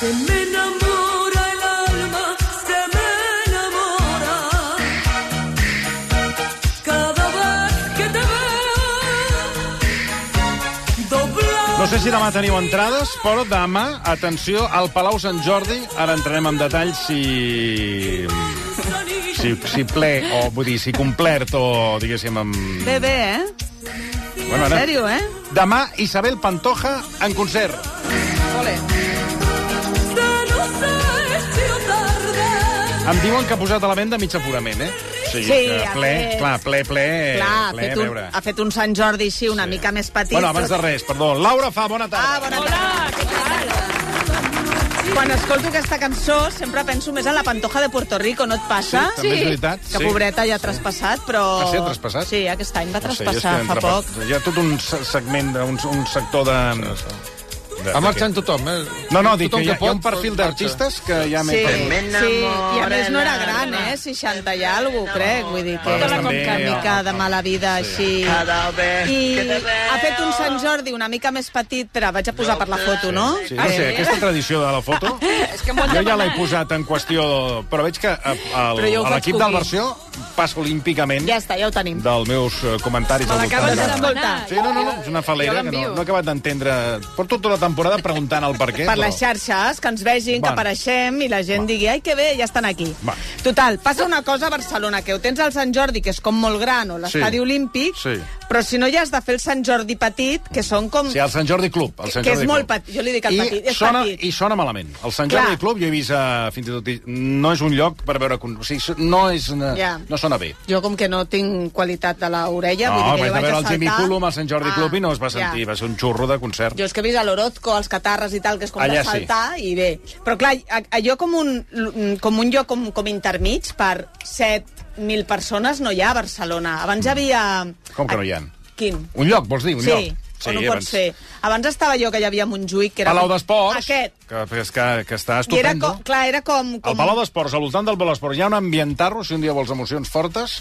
Se me enamora el alma, se me enamora. Cada vez que te veo, doblar. No sé si demà teniu entrades, però demà, atenció, al Palau Sant Jordi, ara entrarem en detall si... si, si ple, o vull dir, si complert, o diguéssim... Amb... Bé, bé, eh? bueno, En sèrio, eh? Demà, Isabel Pantoja en concert. Ole. Se nos ha hecho tarde. Em diuen que ha posat a la venda mig aforament, eh? O sigui, Sí, que ha ple, fet. clar, ple, ple, Clar, ha ple, fet, a un, veure. ha fet un Sant Jordi així una mica més petit. Bueno, abans de res, perdó. Laura fa, bona tarda. Ah, bona tarda. què tal? Quan escolto aquesta cançó sempre penso més en la Pantoja de Puerto Rico, no et passa? Sí, també és veritat, Que sí. pobreta ja ha traspassat, però... Ah, sí, ha traspassat? Ah, Sí, aquest any va No sé, jo traspassar estic fa entrepat. poc. Hi ha tot un se- segment, de- un, un sector de... de- Va de- marxant tothom, eh? No, no, dic que Tothom hi ha, hi ha un pot, doncs, perfil marxa. d'artistes que ja m'he Sí, perdut. sí, i a més no era gran, eh? 60 i alguna cosa, crec. Vull dir que Però era també, una mica eh, de mala vida, així. I ha fet un Sant Jordi una mica més petit. Espera, vaig a posar per la foto, no? Eh, Sí, no sé, aquesta tradició de la foto... és que jo ja l'he posat en qüestió... Però veig que a, a, Però jo ho a l'equip faig del versió passo olímpicament Ja està, ja ho tenim. dels meus eh, comentaris al voltant Doncs de... escolta, Sí, no, no, no, és una falera que no, no he acabat d'entendre... Porto tota la temporada preguntant el per què, per les però... xarxes, que ens vegin, que Eh, Bueno. apareixem i la gent digui, ai, que bé, ja estan aquí. Va. Total, passa una cosa a Barcelona, que ho tens al Sant Jordi, que és com molt gran, o l'estadi Sí. olímpic, Sí. però si no ja has de fer el Sant Jordi petit, que són com... Sí, el Sant Jordi Club. El Sant Que és Jordi molt Club. petit, jo li dic el I petit, és sona, petit. I sona malament. El Sant Clar. Jordi Club, jo he vist eh, fins i tot... i- No és un lloc per veure... con- O sigui, no, és una, Ja. no sona bé. Jo com que no tinc qualitat de l'orella, No, vull dir vaig a que jo vaig veure a el saltar... Jimmy Cullum al Sant Jordi Ah, Club i no es va sentir, ja. va ser un xurro de concert. Jo és que he vist a l'Orozco, els catarres i tal, que és com Allà Allà sí. saltar, i bé. Però clar, a- allò com un, com un lloc com, com intermig per 7.000 persones no hi ha a Barcelona. Abans hi havia... Mm. Com que no hi ha? Quin? Un lloc, vols dir? Un Sí, lloc. sí, on ho pots fer. Abans estava allò que hi havia a Montjuïc, que era... Palau com- d'Esports, Aquest. que, és que, que està I era estupendo. com, clar, era com... com... Al Palau d'Esports, al voltant del Palau d'Esports, hi ha un ambientarro, si un dia vols emocions fortes,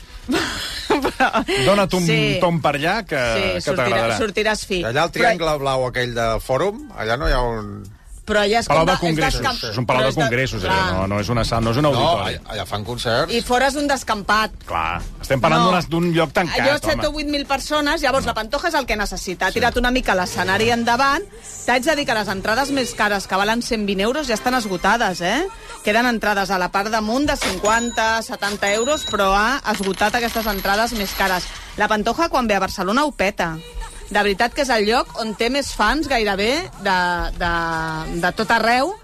dona't un Sí. tom per allà que, Sí, que sortirà, t'agradarà. sortiràs fi. Allà el triangle blau aquell de fòrum, allà no hi ha un... Però, però allà és Palau com... de és Congressos. descamp- És un palau però de és Ah. congressos, allà. clar. No, no és una sala, no és un No, auditori. allà, allà fan concerts. I fora és un descampat. Clar, estem parlant No. Ah, d'unes- d'un lloc tancat, Allò 7 o home. 8.000 persones, llavors la Pantoja és el que necessita. Ha tirat una mica l'escenari endavant. T'haig de dir que les entrades més cares, que valen 120 euros, ja estan esgotades, eh? Queden entrades a la part damunt de 50, 70 euros, però ha esgotat aquestes entrades més cares. La Pantoja, quan ve a Barcelona, ho peta. De veritat que és el lloc on té més fans gairebé de, de, de tot arreu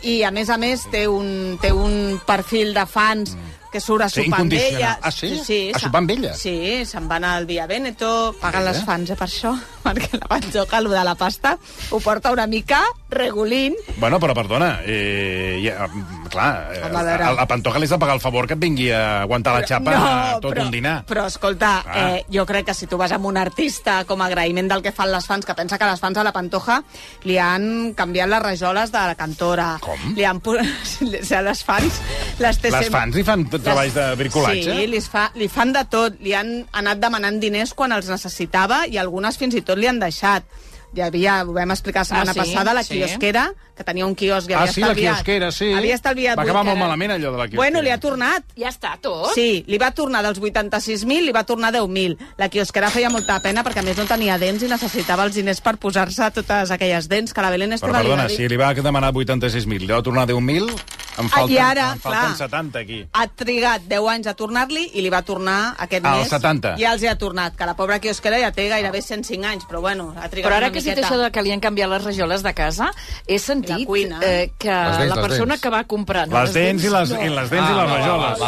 i, a més a més, té un, té un perfil de fans que surt a Sí, sopar amb incondicional. ella. Ah, sí? A se- sopar amb ella? Sí, se'n van al Via Veneto, paguen Ah, les eh? fans eh, per això, perquè la panjoca, allò de la pasta, ho porta una mica regulín. Bueno, però perdona, eh, ja, mm, clar, eh, Home, a veure. a, a Pantoja li has de pagar el favor que et vingui a aguantar la xapa a tot però, un dinar. Però, escolta, Ah. eh, jo crec que si tu vas amb un artista com a agraïment del que fan les fans, que pensa que les fans a la Pantoja li han canviat les rajoles de la cantora. Com? Li han... pu- a les fans... Les, té Les sempre- fans li fan t- treballs de bricolatge? Sí, li, fa, li fan de tot. Li han anat demanant diners quan els necessitava i algunes fins i tot li han deixat. Hi havia, ho vam explicar la setmana Ah, sí? passada, la Sí. quiosquera, que tenia un quiosc i Ah, havia sí, la estalviat. quiosquera, sí. Havia estalviat Va acabar vuit- molt malament, allò de la quiosquera. Bueno, li ha tornat. Ja està, tot? Sí, li va tornar dels 86.000, li va tornar 10.000. La quiosquera feia molta pena perquè a més no tenia dents i necessitava els diners per posar-se totes aquelles dents que la Belén Però, Esteve perdona, li va dir. si li va demanar 86.000, li va tornar 10.000, em Ah, falten, I ara, em clar, falten 70 aquí. ha trigat 10 anys a tornar-li i li va tornar aquest Ah, el mes. 70. Ja els hi ha tornat, que la pobra quiosquera ja té gairebé 105 anys, però bueno, ha trigat Però ara una que has dit miqueta. això de que li han canviat les rajoles de casa, he sentit La cuina. eh, que Les dents, la les persona dents. que va comprar... Les dents i les, i les, dents i les Ah, va, doncs, va, rajoles.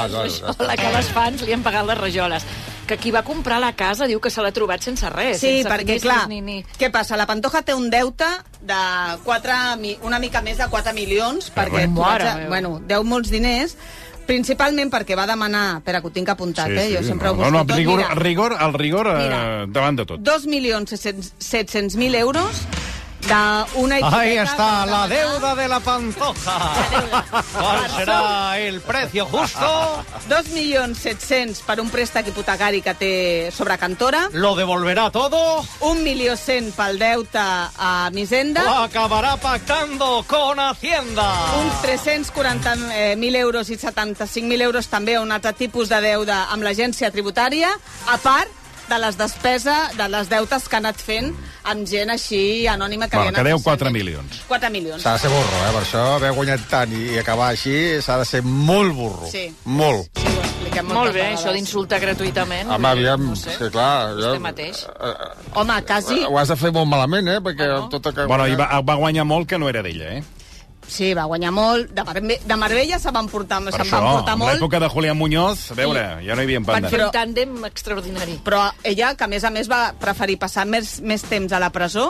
va, va, va, va. La que les fans li han pagat les rajoles. que qui va comprar la casa diu que se l'ha trobat sense res. Sí, sense perquè, permisos clar, Ni, ni... què passa? La Pantoja té un deute de 4, una mica més de 4 milions, perquè tu mare vas a, meva. bueno, deu molts diners, principalment perquè va demanar... Espera, que ho tinc apuntat, eh? Jo sempre ho no, busco no, tot. rigor, mira, rigor, el rigor eh, Mira. davant de tot. 2.700.000 euros d'una hipoteca... Ahí está que va demanar. la deuda de la pantoja. ¿Cuál será el precio justo? 2.700.000 per un préstec hipotecari que té sobre Cantora, ¿Lo devolverá todo? 1.100.000 pel deute a Misenda... ¿O acabará pactando con Hacienda? Uns 340.000 euros i 75.000 euros també a un altre tipus de deuda amb l'agència tributària, a part de les despeses, de les deutes que ha anat fent amb gent així anònima que Bueno, li ha que anat deu passant. 4 milions. 4 milions. S'ha de ser burro, eh? Per això haver guanyat tant i, i acabar així s'ha de ser molt burro. Sí. Molt. Sí, ho expliquem moltes Molt bé, vegades. això d'insultar gratuïtament. Home, vull dir, aviam, No sé. que clar... Vostè mateix. eh, eh, Home, quasi... Ho has de fer molt malament, eh? Perquè amb tot el que... Bueno, i va, va guanyar molt que no era d'ella, eh? Sí, va guanyar molt. De, Marve de Marbella se van portar, se Per van això, portar en molt. l'època de Julián Muñoz, a veure, ja no hi havia Van panda. fer un tàndem extraordinari. Però ella, que a més a més va preferir passar més, més temps a la presó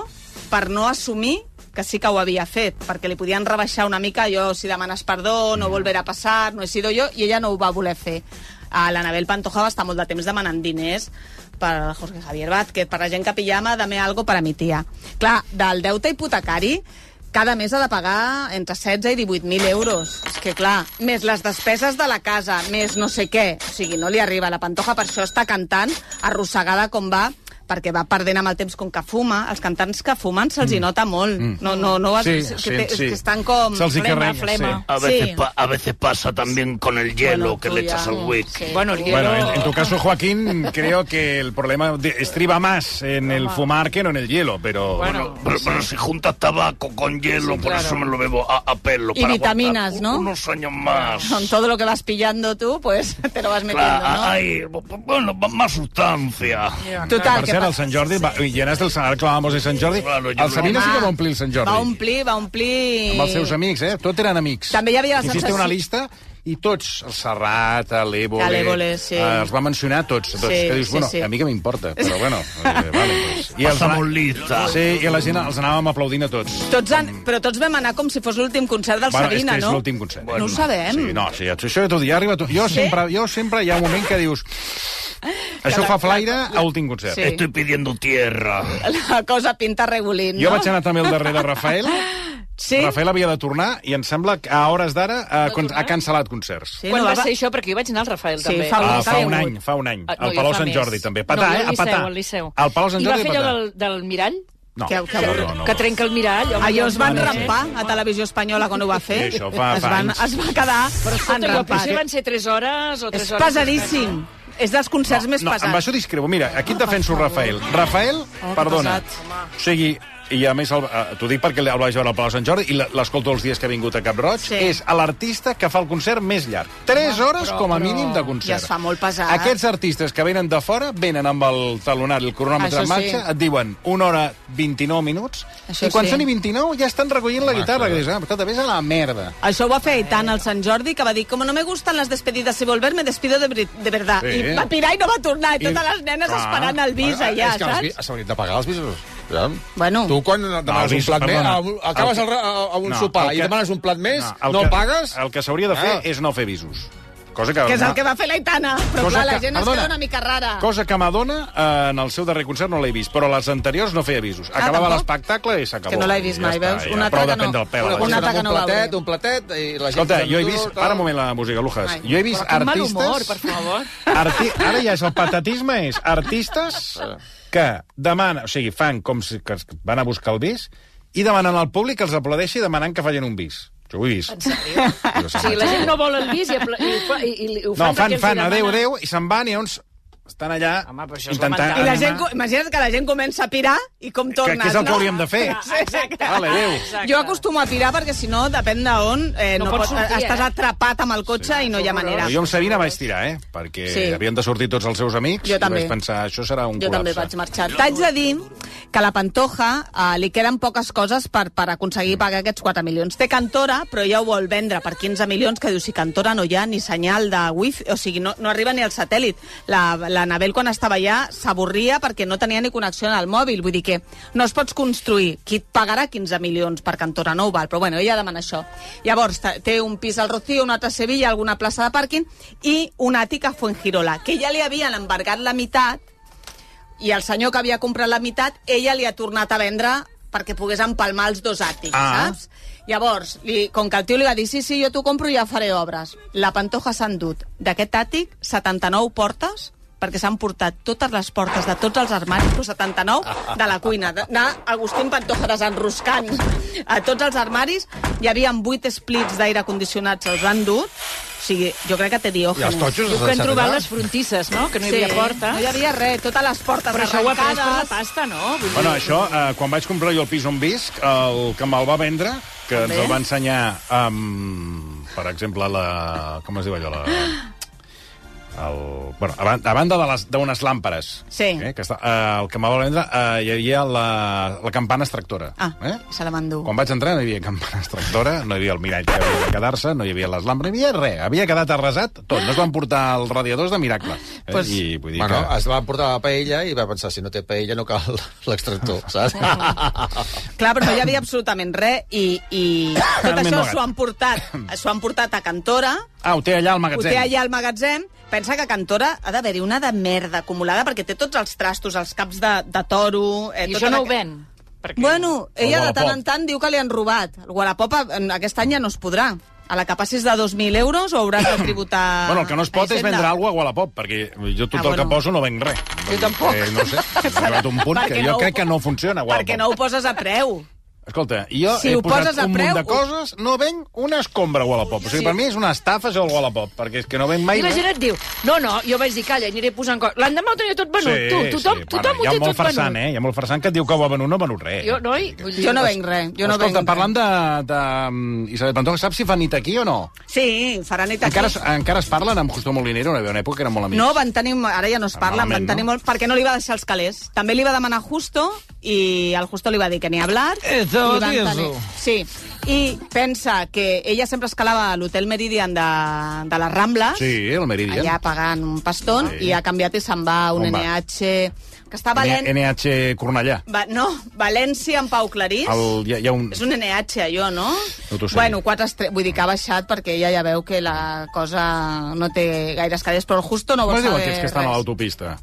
per no assumir que sí que ho havia fet, perquè li podien rebaixar una mica allò, si demanes perdó, no volverà a passar, no he sido jo, i ella no ho va voler fer. A l'Anabel Pantoja va estar molt de temps demanant diners per Jorge Javier Vázquez, per la gent que pillama, dame algo para mi tía. Clar, del deute hipotecari, cada mes ha de pagar entre 16 i 18.000 euros. És que, clar, més les despeses de la casa, més no sé què. O sigui, no li arriba. La Pantoja per això està cantant, arrossegada com va, perquè va perdent amb el temps com que fuma. Els cantants que fumen se'ls hi nota molt. No, no, no, Mm. Sí, és, sí, que, té- és sí. que estan com... Se'ls hi flema, carrega, flema. sí. A veces, Sí. pa- a veces pasa también con el hielo Bueno, que tú le ya, echas al mm, whisky. sí. Bueno, el hielo... Bueno, en, en tu caso, Joaquín, creo que el problema de- estriba más en el fumar que no en el hielo, pero... Bueno. Pero, pero si juntas tabaco con hielo, por claro. eso me lo bebo a, a pelo. Y para aguantar vitaminas, un- ¿no? Unos años más. Con todo lo que vas pillando tu, pues te lo vas metiendo, Claro, ¿no? hay, bueno, va- más sustancia. Total, per que cert, pa- el Sant Jordi, va, i llenaste el Sant, ara clavàvem el Sant Jordi, Claro, jo el Sabina no. sí que va omplir el Sant Jordi. Va omplir, va omplir... Amb els seus amics, eh? Tot eren amics. També hi havia la Hiciste sensació- una llista i tots, el Serrat, l'Evole... L'Évole, sí. eh, els va mencionar tots, tots. Sí, que dius, sí, bueno, sí. a mi que m'importa, però bueno... Eh, vale, doncs. I els, Passa molt lista. sí, i la gent els anàvem aplaudint a tots. Tota Tots han, però tots vam anar com si fos l'últim concert del Bueno, és Sabina, que és no? l'últim concert. No ho sabem. Sí, no, sí, això ja t'ho dic, ja arriba... Tu. Jo, sempre, jo sempre hi ha un moment que dius... Això fa flaire a últim concert. Sí. Estoy pidiendo tierra. La cosa pinta regulint, Jo no? vaig anar també al darrere de Rafael. Sí? Rafael havia de tornar i em sembla que a hores d'ara ha, con- ha cancel·lat concerts. Sí, Quan no, va va- ser això? Perquè jo vaig anar al Rafael, Sí, també. fa un- Ah, fa un Liceu. any, fa un any. Ah, Al jo Palau fa Sant més. Jordi, també. Patar, no, jo eh? al A patar. Liceu, al Liceu. Al Palau Sant I va Jordi, fer allò patar. del, del mirall? No, Que- que- no, no, no. Que trenca el mirall. home, Allò es van no, no, no. rampar a Televisió Espanyola quan ho va fer. Sí, això fa- es, fa van, anys. es va quedar Escolta, jo enrampat. potser van ser 3 hores o 3 És hores. pesadíssim. És dels concerts més no, amb pesats. això discrepo. Mira, aquí et defenso Rafael. Rafael, Oh, que perdona. pesat. O sigui, i a més, el- eh, t'ho dic perquè el vaig veure al Palau Sant Jordi i la- l'escolto els dies que ha vingut a Cap Roig, Sí. és l'artista que fa el concert més llarg. Tres hores com a mínim de concert. ja es fa molt pesat. Aquests artistes que venen de fora venen amb el talonari, el cronòmetre Això en marxa, sí. et diuen una hora 29 minuts, Això i quan sí. són i 29 ja estan recollint la guitarra, que dius, ah, escolta, vés a la merda. Això ho va fer Aitana al Sant Jordi, que va dir, com no me gustan les despedides i volver, me despido de, veri- de verdad. Sí. I va pirar i no va tornar, i I- totes les nenes clar. esperant el vis allà, és que els vi- saps? s'ha hagut de pagar els visos. Ja. Bueno. Tu quan demanes el un vis- plat més, perdona. a un- acabes El el, que- a, a un No, sopar el i que- demanes un plat més, el no que- pagues... El que s'hauria de fer Ah. és no fer visos. Cosa que, Que és el que va fer l'Aitana. Però Cosa clar, la que- gent es perdona. queda una mica rara. Cosa que Madonna eh, en el seu darrer concert no l'he vist, però les anteriors no feia avisos. Acabava tampoc? l'espectacle i s'acabó. Que no l'he vist I mai, veus? i Una altra prou que de prendre no. el pèl. a la Una gent. cosa altra que no un va platet, veure. un platet, i la gent... Escolta, fent jo he tu, vist... tal. Ara un moment la música, Lujas. Ai, Jo he vist Quin mal artistes... humor, per favor. Arti... Ara ja és el patatisme, és artistes que demanen... O sigui, fan com si que es- van a buscar el bis i demanen al públic que els aplaudeixi demanant que facin un bis. Jo ho he vist. O sigui, la gent no vol el vis i, apla- i, ho fa- i, i, i ho No, fan, fan, perquè els fan, hi adeu, demanen. adeu, i se'n van i llavors estan allà Home, però això és intentant... lamentable. I la animar- gent, co- imagina't que la gent comença a pirar i com tornes, eh? que és el que no? hauríem de fer. Sí, exacte. Vale, adéu. Exacte. Jo acostumo a pirar perquè, si no, depèn d'on, eh, No no, no pots pots, sortir, estàs eh? atrapat amb el cotxe i no hi ha manera. Però jo amb Sabina vaig tirar, eh? Perquè Sí. sí. havien de sortir tots els seus amics. i Jo també. vaig pensar, això serà un Jo col·lapse. també vaig marxar. T'haig de dir que a la Pantoja eh, li queden poques coses per, per aconseguir pagar aquests 4 milions. Té Cantora, però ja ho vol vendre per 15 milions, que diu, si Cantora no hi ha ni senyal de wifi, o sigui, no, no arriba ni al satèl·lit. La, la l'Anabel quan estava allà s'avorria perquè no tenia ni connexió al mòbil. Vull dir que no es pots construir. Qui et pagarà 15 milions per Cantora no ho val, però bueno, ella demana això. Llavors, t- té un pis al Rocío, un altre a Sevilla, alguna plaça de pàrquing i un àtic a Fuengirola, que ja li havien embargat la meitat i el senyor que havia comprat la meitat, ella li ha tornat a vendre perquè pogués empalmar els dos àtics, Ah. saps? Llavors, li, com que el tio li va dir sí, sí, jo t'ho compro i ja faré obres, la Pantoja s'ha endut d'aquest àtic 79 portes, perquè s'han portat totes les portes de tots els armaris, però 79 de la cuina. De- D'Agustín Pantoja desenroscant a tots els armaris. Hi havia 8 splits d'aire condicionat, se'ls han dut. O sigui, jo crec que té I els diògenes. totxos Diu els que han deixat trobat allà? les frontisses, no? Que no hi havia porta. No hi havia res, totes les portes Però això ho ha pres per la arrencades. pasta, no? Vull dir- Bueno, això, eh, quan vaig comprar jo el pis on visc, el que me'l va vendre, que ens el va ensenyar, um, per exemple, la... Com es diu allò? La... El, bueno, a, ban- a banda de les- d'unes làmperes, Sí. eh, que està, eh, el que me'l va vendre, eh, hi havia la, la campana extractora. Ah, eh? se la van dur. Quan vaig entrar no hi havia campana extractora, no hi havia el mirall que havia de quedar-se, no hi havia les làmperes, no hi havia res. Havia quedat arrasat tot. No es van portar els radiadors de miracle. Eh? Pues- I vull dir Bueno, que... es va portar la paella i va pensar, si no té paella no cal l'extractor, saps? Clar, però no hi havia absolutament res i, i tot Carmen això Mogat. s'ho han portat, s'ho han portat a Cantora, Ah, ho té allà al ho magatzem. té allà al magatzem, pensa que a Cantora ha d'haver-hi una de merda acumulada perquè té tots els trastos, els caps de, de toro... Eh, I tota això no la- ho ven. Perquè... Bueno, ella de Wallapop. tant en tant diu que li han robat. El Wallapop en- aquest any ja no es podrà. A la que passis de 2.000 euros ho hauràs de tributar... Bueno, el que no es pot a és Hisenda. vendre alguna cosa a Wallapop, perquè jo tot ah, Ah, el bueno. que poso no venc res. Jo tampoc. Eh, no sé, ha arribat un punt Perquè que jo no ho- crec que no funciona Wallapop. Perquè no ho poses a preu. Escolta, jo Si he ho posat poses a un preu, munt de ho- coses, no venc una escombra a Wallapop. O sigui, Sí. per mi és una estafa això el Wallapop, perquè és que no venc mai... I la res. gent et diu, no, no, jo vaig dir, calla, aniré posant coses. L'endemà ho tenia tot venut, tu, tothom, tothom bueno, ho hi té ha molt tot farsant, venut. eh? Hi ha molt farsant que et diu que ho ha venut, no ha venut res. Jo, noi, vull dir... Jo no venc res. Jo no venc Escolta, res. parlant de, de mm, Isabel Pantoja, saps si fa nit aquí o no? Sí, faran nit aquí. Encara, es- encara es parlen amb Justo Molinero, hi havia una època que eren molt amics. No, van tenir... Ara ja no es Ah, parla, van malament, tenir no? molt... Perquè no li va deixar els calés. També li va demanar Justo i el Justo li va dir que ni hablar. Eh, Eso, i van eso. Sí. I pensa que ella sempre escalava a l'hotel Meridian de, de les Rambles. Sí, el Meridian. Allà pagant un pastón Sí. i ha canviat i se'n va a un On va? NH... Que està a Valen... NH Cornellà. Va, no, València amb Pau Clarís. El, hi, ha, hi ha un... És un NH, allò, no? No t'ho sé. bueno, quatre estre... Vull dir que ha baixat perquè ella ja veu que la cosa no té gaires cadets, però el Justo no Com vol es diu saber aquests que estan a res. l'autopista?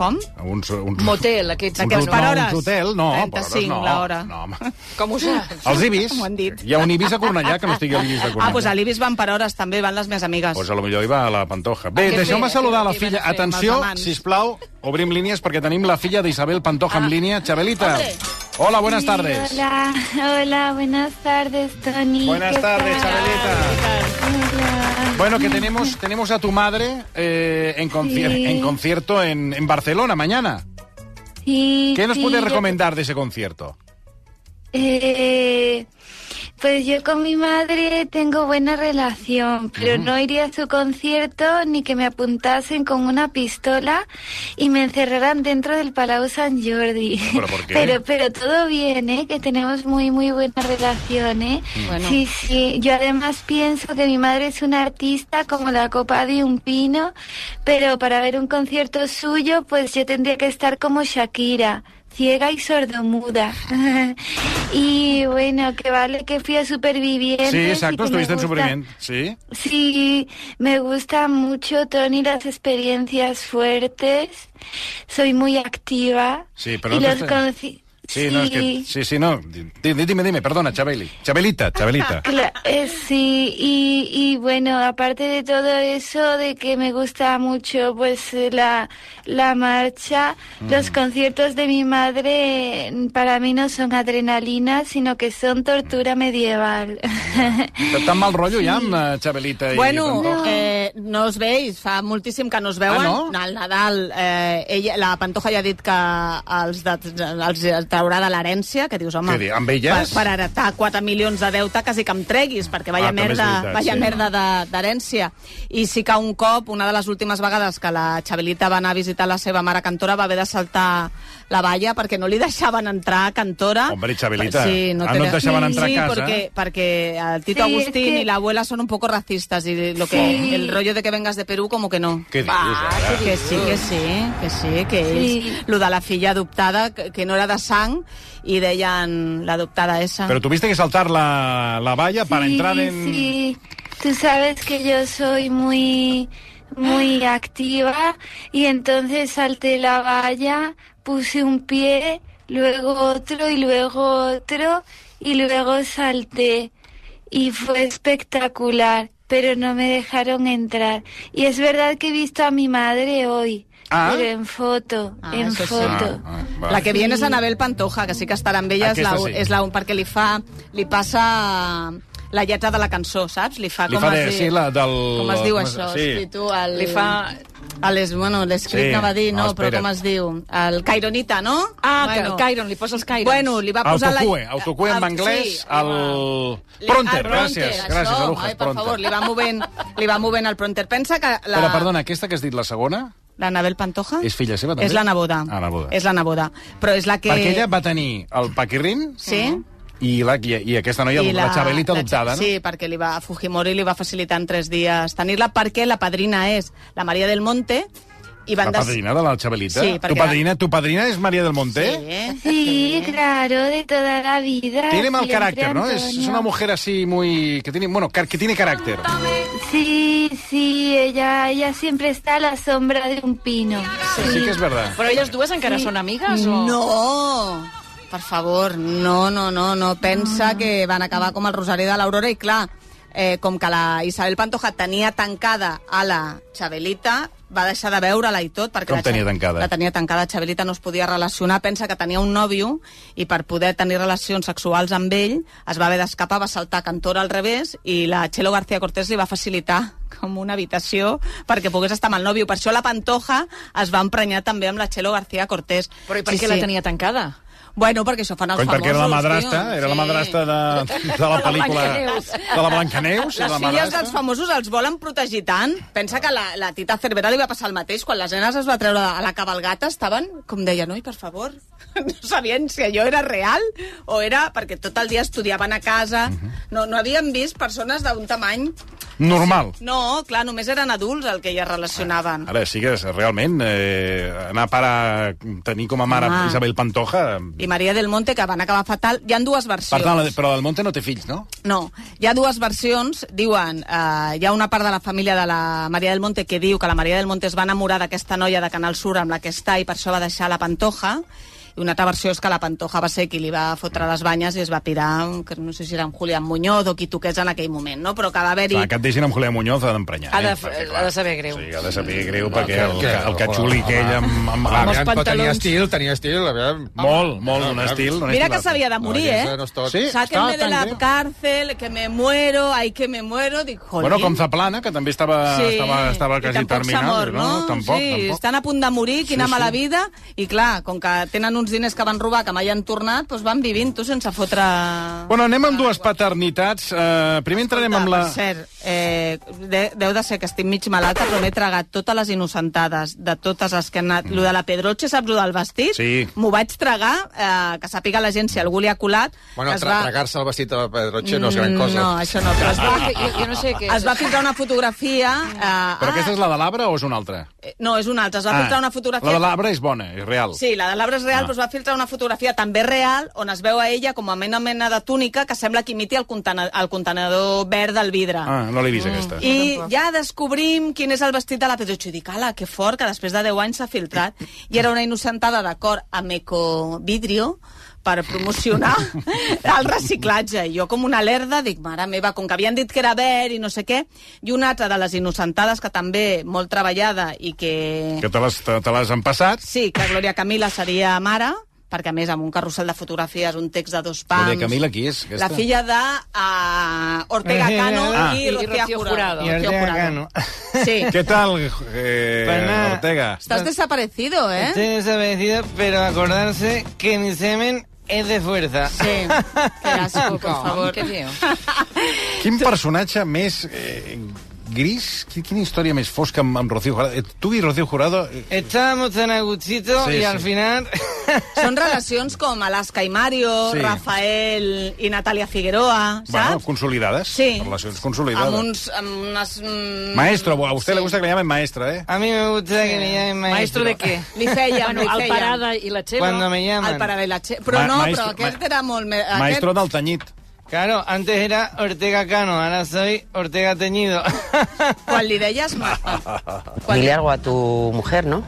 Com? Uns, uns... Motel, aquests... Uns, D'aquells hot- per no, hores. uns hotel, no. 35 per hores, no. l'hora. No, home. Com ho saps? Els Ibis. M'ho han dit. Hi ha un Ibis a Cornellà que no estigui a l'Ibis de Cornellà. Ah, doncs a l'Ibis van per hores, també van les meves amigues. Pues a lo millor hi va a la Pantoja. Bé, què deixeu-me feia? saludar la Què van filla. fer? Atenció, Mals amants. si plau, obrim línies perquè tenim la filla d'Isabel Pantoja en línia. Chabelita. Ah. Hola, buenas tardes. Hola, hola, buenas tardes, Tony. Buenas ¿Qué tardes, tal? Chabelita. Hola. Bueno, que tenemos, tenemos a tu madre eh, en, concier- Sí. en concierto en, en Barcelona mañana. Sí, ¿Qué nos sí, puedes yo- recomendar de ese concierto? eh, pues yo con mi madre tengo buena relación, pero no iría a su concierto ni que me apuntasen con una pistola y me encerraran dentro del Palau San Jordi. ¿Pero por qué? Pero, pero todo bien, ¿eh? Que tenemos muy, muy buena relación, ¿eh? Sí, sí. Yo además pienso que mi madre es una artista como la copa de un pino, pero para ver un concierto suyo, pues yo tendría que estar como Shakira. Ciega y sordomuda. y bueno, que vale que fui a Supervivientes. Sí, y exacto, que me estuviste en gusta- Superviviente. Sí. Sí, me gustan mucho, Tony, las experiencias fuertes. Soy muy activa. Sí, pero y no te los estés- conci- Sí, no, es que, Sí. sí, sí, no. Di- di- Dime, dime, perdona, Chabeli. Chabelita, Chabelita. Cla- eh, sí, y, y bueno, aparte de todo eso, de que me gusta mucho pues eh, la, la marcha, los conciertos de mi madre eh, para mí no son adrenalina, sino que son tortura medieval. Tan mal rollo ja amb eh, Chabelita i Bueno, Pantoja? no. Eh, no es veis, fa moltíssim que no es veuen. Ah, no? Al Nadal, eh, ella, la Pantoja ja ha dit que els de, els de traurà de l'herència, que dius, home... Què dir, amb elles? Per, per heretar 4 milions de deute, quasi que em treguis, perquè vaya Ah, també és merda, veritat, vaya sí. merda de- d'herència. I sí que un cop, una de les últimes vegades que la Xabelita va anar a visitar la seva mare cantora, va haver de saltar la valla perquè no li deixaven entrar a cantora. Hombre, Xabelita, Sí, no, ah, no et te- deixaven Sí, entrar a sí, casa? porque- porque el Tito Sí, es Agustín que- y la abuela son un poco racistas y lo que Sí. el rollo de que vengas de Perú como que no. Què dius, ara? Que sí, que sí, que sí, que Sí. ells... Lo de la filla adoptada, que, que no era de sang, i deien l'adoptada esa. Pero tuviste que saltar la, la valla para Sí, entrar en... Sí, tú sabes que yo soy muy, muy activa y entonces salté la valla, puse un pie, luego otro y luego otro y luego salté y fue espectacular, pero no me dejaron entrar. Y es verdad que he visto a mi madre hoy, Ah. pero en foto, Ah, en eso sí. foto. Ah, ah, La que viene és Sí. Anabel Pantoja, que sí que estarà amb ella, és la, Aquesta Ah, sí. és la, perquè li fa... Li passa eh, la lletra de la cançó, saps? Li fa, Li com fa es de- diu, sí, la del- com es diu com es- això? sí. Sí. tu, el... Li fa... A les, bueno, l'escrit Sí. sí. no va dir, No, no, però espera't. com es diu? El Caironita, no? Ah, bueno. Cairon, li posa els Cairons. Bueno, li va posar Autocue, la... autocue en Ah, anglès, sí. el... Li- Pronter, el gràcies, això, gràcies, home, eh, Arujas, per favor, li va movent, li va movent el Pronter. Pensa que la... Però, perdona, aquesta que has dit, la segona? L'Anabel Pantoja? És filla seva, també? És la neboda. Ah, neboda. És la neboda. Però és la que... Perquè ella va tenir el paquirrin Sí. i, la, i, i aquesta noia, I la, la Xabelita adoptada, no? Sí, perquè li va, a Fujimori li va facilitar en tres dies tenir-la, perquè la padrina és la Maria del Monte, i van La padrina de la Xabelita. Sí, tu, perquè- padrina, tu padrina és Maria del Monte? Sí, eh? Sí, claro, de toda la vida. Tiene mal siempre, carácter, ¿no? Es, es Antonio. una mujer así muy... que tiene, bueno, car- que tiene carácter. Sí, sí, ella, ella siempre está a la sombra de un pino. Sí que es verdad. Però elles dues encara són amigues o...? No! Per favor, no, no, no, no. Pensa que van acabar com el Rosari de l'Aurora i, clar, eh, com que la Isabel Pantoja tenia tancada a la Xabelita, va deixar de veure-la i tot. Perquè Com la Xa- tenia tancada? La tenia tancada, Xabelita no es podia relacionar. Pensa que tenia un nòvio i per poder tenir relacions sexuals amb ell es va haver d'escapar, va saltar cantora al revés i la Chelo García Cortés li va facilitar com una habitació perquè pogués estar amb el nòvio. Per això la Pantoja es va emprenyar també amb la Chelo García Cortés. Però i per què la tenia tancada? Bueno, perquè això fan els Cony, famosos, perquè era la madrastra, tio. era la Sí. madrastra de, de la pel·lícula Blancaneus. de la Blancaneus. era Les la filles madrastra. dels famosos els volen protegir tant. Pensa que la, la Tita Cervera li va passar el mateix. Quan les nenes es va treure a la cabalgata, estaven, com deia, noi, per favor. No sabien si allò era real o era... Perquè tot el dia estudiaven a casa. No, no havien vist persones d'un tamany... Normal. No, clar, només eren adults el que ja relacionaven. Ara, sí que és, realment, eh, anar a parar, tenir com a mare Home. Isabel Pantoja... I Maria del Monte, que van acabar fatal. Hi han dues versions. Per tant, la de- però del Monte no té fills, no? No, hi ha dues versions. Diuen, eh, hi ha una part de la família de la Maria del Monte que diu que la Maria del Monte es va enamorar d'aquesta noia de Canal Sur amb la que està i per això va deixar la Pantoja. I una altra versió és que la Pantoja va ser qui li va fotre les banyes i es va pirar, que no sé si era en Julián Muñoz o qui toqués en aquell moment, no? Però que va haver-hi... Clar, que et deixin amb Julià Muñoz ha d'emprenyar. Ha de- eh? Perquè, clar, ha de saber greu. Sí, ha de saber greu, perquè el, que- el catxuli que ell amb... amb, amb, Aviam, però tota tenia pantalons. estil, tenia estil. Aviam. molt, molt, d'un estil. d'un Mira estil que s'havia de morir, No, eh? aquesta no es toca. Sí, Sáquenme estava de tan la greu. cárcel, que me muero, ay, que me muero. Dic, Bueno, "Jolín". com Zaplana, que també estava, Sí. estava, estava I quasi tampoc s'ha terminal. mort, no? Tampoc, sí, tampoc. estan a punt de morir, quina Sí, mala sí. vida. I clar, com que tenen uns diners que van robar, que mai han tornat, doncs van vivint-ho sense fotre... Bueno, anem amb dues paternitats. Uh, primer entrarem amb la... Per cert, eh, de, deu de ser que estic mig malalta, però m'he tragat totes les innocentades de totes les que han anat. Lo de la Pedroche, saps lo del vestit? Sí. M'ho vaig tragar, eh, que sàpiga la gent si algú li ha colat. Bueno, es Mm, tra tragar-se el vestit de Pedroche no és gran cosa. No, això no, però es va, Jo, jo no sé què és. es va ficar una fotografia... Eh, Però aquesta ah, és la de l'arbre o és una altra? eh, No, és una altra. Es va filtrar una fotografia La de l'arbre és bona, és real. Sí, la de l'arbre és real, però es va filtrar una fotografia també real on es veu a ella com amb una mena de túnica que sembla que imiti el, contene el contenedor verd del vidre. Ah, no l'he vist, aquesta. Mm. I ja descobrim quin és el vestit de la Pedroche. I dic, ala, que fort, que després de 10 anys s'ha filtrat. I era una innocentada d'acord amb Ecovidrio per promocionar el reciclatge. I jo, com una lerda, dic, mare meva, com que havien dit que era verd i no sé què, i una altra de les innocentades que també molt treballada i que... Que te les, te, te les han passat. Sí, que Glòria Camila seria mare, perquè a més amb un carrusel de fotografies, un text de dos pams... Glòria Camila, qui és, aquesta? La filla de uh, Ortega Eh, Cano Ah. i, I Rocío Rocío Jurado. Jurado. Rocío Jurado. Sí. Què tal, eh, Pana. Ortega? Estás desaparecido, eh? Estoy desaparecido, pero acordarse que mi semen es de fuerza. Sí, qué asco, por Com? favor. Què diu? Quin personatge més eh, gris? Qui- Quina història més fosca amb, amb Rocío Jurado? Eh, Tu i Rocío Jurado... eh, Estábamos tan a gustito Sí, y sí. al final... Són relacions com Alaska i Mario, Sí. Rafael i Natalia Figueroa, saps? Bueno, consolidades. Sí. Relacions amb, consolidades. uns, amb unes... mm, Maestro, a usted le gusta que le llamen maestra, ¿eh? A mí me gusta que me llamen Maestro maestro. de què? Li feia, Bueno, li feia. el Parada i la Cheva. Cuando me Al llaman. Parada i la Che... Però Ma- no, maestro- però aquest ma- era molt... Me... Aquest... Maestro del Tañit. Claro, antes era Ortega Cano, ahora soy Ortega Teñido. Quan li deies... Ma... Quan li... Dile algo a tu mujer, ¿no?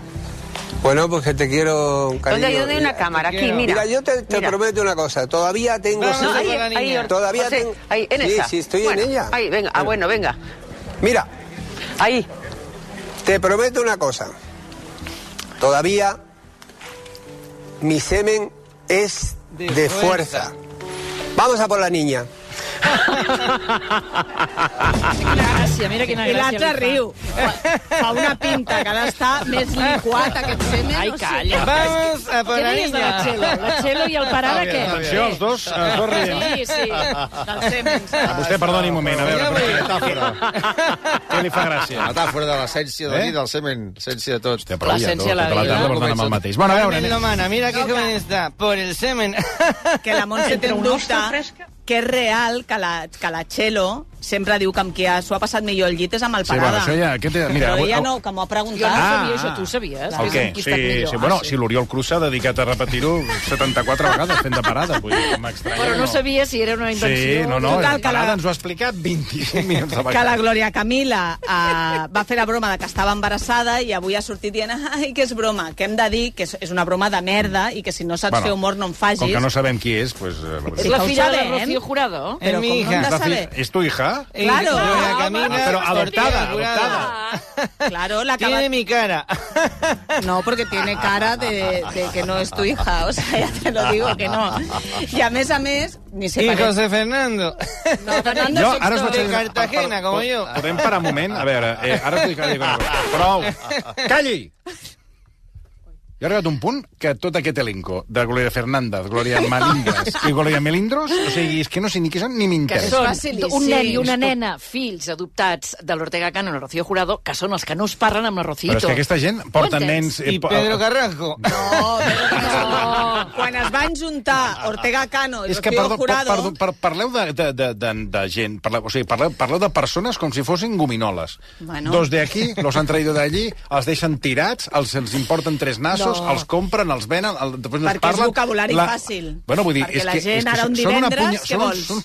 Bueno, pues que te quiero, cariño. yo doy una cámara, te aquí, quiero. mira. Mira, yo te, te mira. prometo una cosa. Todavía tengo... Vamos a ahí, por la ahí, niña. Or- Todavía José, tengo- Ahí, en Sí, esa. sí, estoy en Bueno, ella. Ahí, venga. Ah, bueno, venga. Mira, Ahí. te prometo una cosa. Todavía mi semen es De de, fuerza. fuerza. Vamos a por la niña. Quina gràcia, mira quina I gràcia. l'altre li fa. riu. Fa- Fa una pinta, que ara està més liquat aquest semen. Ai, o sigui- calla. Vamos a por Què la deies de la Txelo? niña. La Txelo i el Parada, què? Atenció, els dos, els dos rient. Sí, sí. Del semen. A vostè, perdoni un moment, a veure, Vinga, perquè- Metàfora. què li fa gràcia? Metàfora de l'essència de la Eh? vida, del semen, l'essència de tot. Té prou ja, tot, L'essència de la tota la vida. tarda portant amb el mateix. Bueno, a veure, Carmen anem. Lomana, mira qué joven está. Por el semen. Que la Montse té un dubte que és real que la, que la Txelo sempre diu que amb qui s'ho ha passat millor el llit és amb el Sí, bueno, Parada. això ja... Aquest, mira, Però avui, ella no, que m'ho Jo no ha preguntat. sabia això, tu ho sabies? Ah. Que és El què? Sí, enquistat millor. sí, bueno, Ah, si l'Oriol Cruz s'ha dedicat a repetir-ho 74 vegades fent de parada. Vull dir, m'estranya. Però no sabia si era una invenció. Sí, no, no, Total, la que la- parada ens ho ha explicat 25 minuts de que la vegades. Gloria Camila eh, va fer la broma de que estava embarassada i avui ha sortit dient, ai, que és broma, que hem de dir que és, és una broma de merda i que si no saps Bueno, bueno, fer humor no en Com facis. que no sabem qui és, doncs... És eh, la que ho filla de sabem. Rocío Jurado. Però Es com mi no hija. hem la de fi- saber. ¿Es tu hija? Y Claro. Gloria Ah, Camila, pero Ortega adoptada, Jurado. adoptada. Claro, la que va... Tiene mi cara. No, porque tiene cara de, de que no es tu hija, o sea, ya te lo digo que no. I a més a més, ni se Y pareix. José Fernando. No, Fernando Jo, Sexto. ara us vaig de Cartagena, com jo. Ah, Podem parar un moment? A veure, eh, ara us dic que dic una cosa. Prou! Calli! Jo he arribat a un punt que tot aquest elenco de Gloria Fernández, Gloria Malindres i Gloria Melindros, o sigui, és que no sé ni qui són ni que m'interessa. són facilíssim. un nen i una nena, fills adoptats de l'Ortega Cano i la Rocío Jurado, que són els que no es parlen amb la Rocío. Però és que aquesta gent porta Ho entens? nens... eh, Y po- Pedro Carrasco. No, Pedro Casado. No. Quan es van juntar Ortega Cano i és que Rocío perdó, per, Jurado... perdó, per, parleu de, de, de, de, de gent, parleu, o sigui, parleu, parleu de persones com si fossin gominoles. Bueno. Dos de aquí, los han traído de allí, els deixen tirats, els, els importen tres nassos, No. els compren, els venen, el, després no es Perquè és parlen. vocabulari fàcil. Bueno, vull dir, Perquè és la que, gent és que ara un són, una divendres, punya, què són, vols? uns- són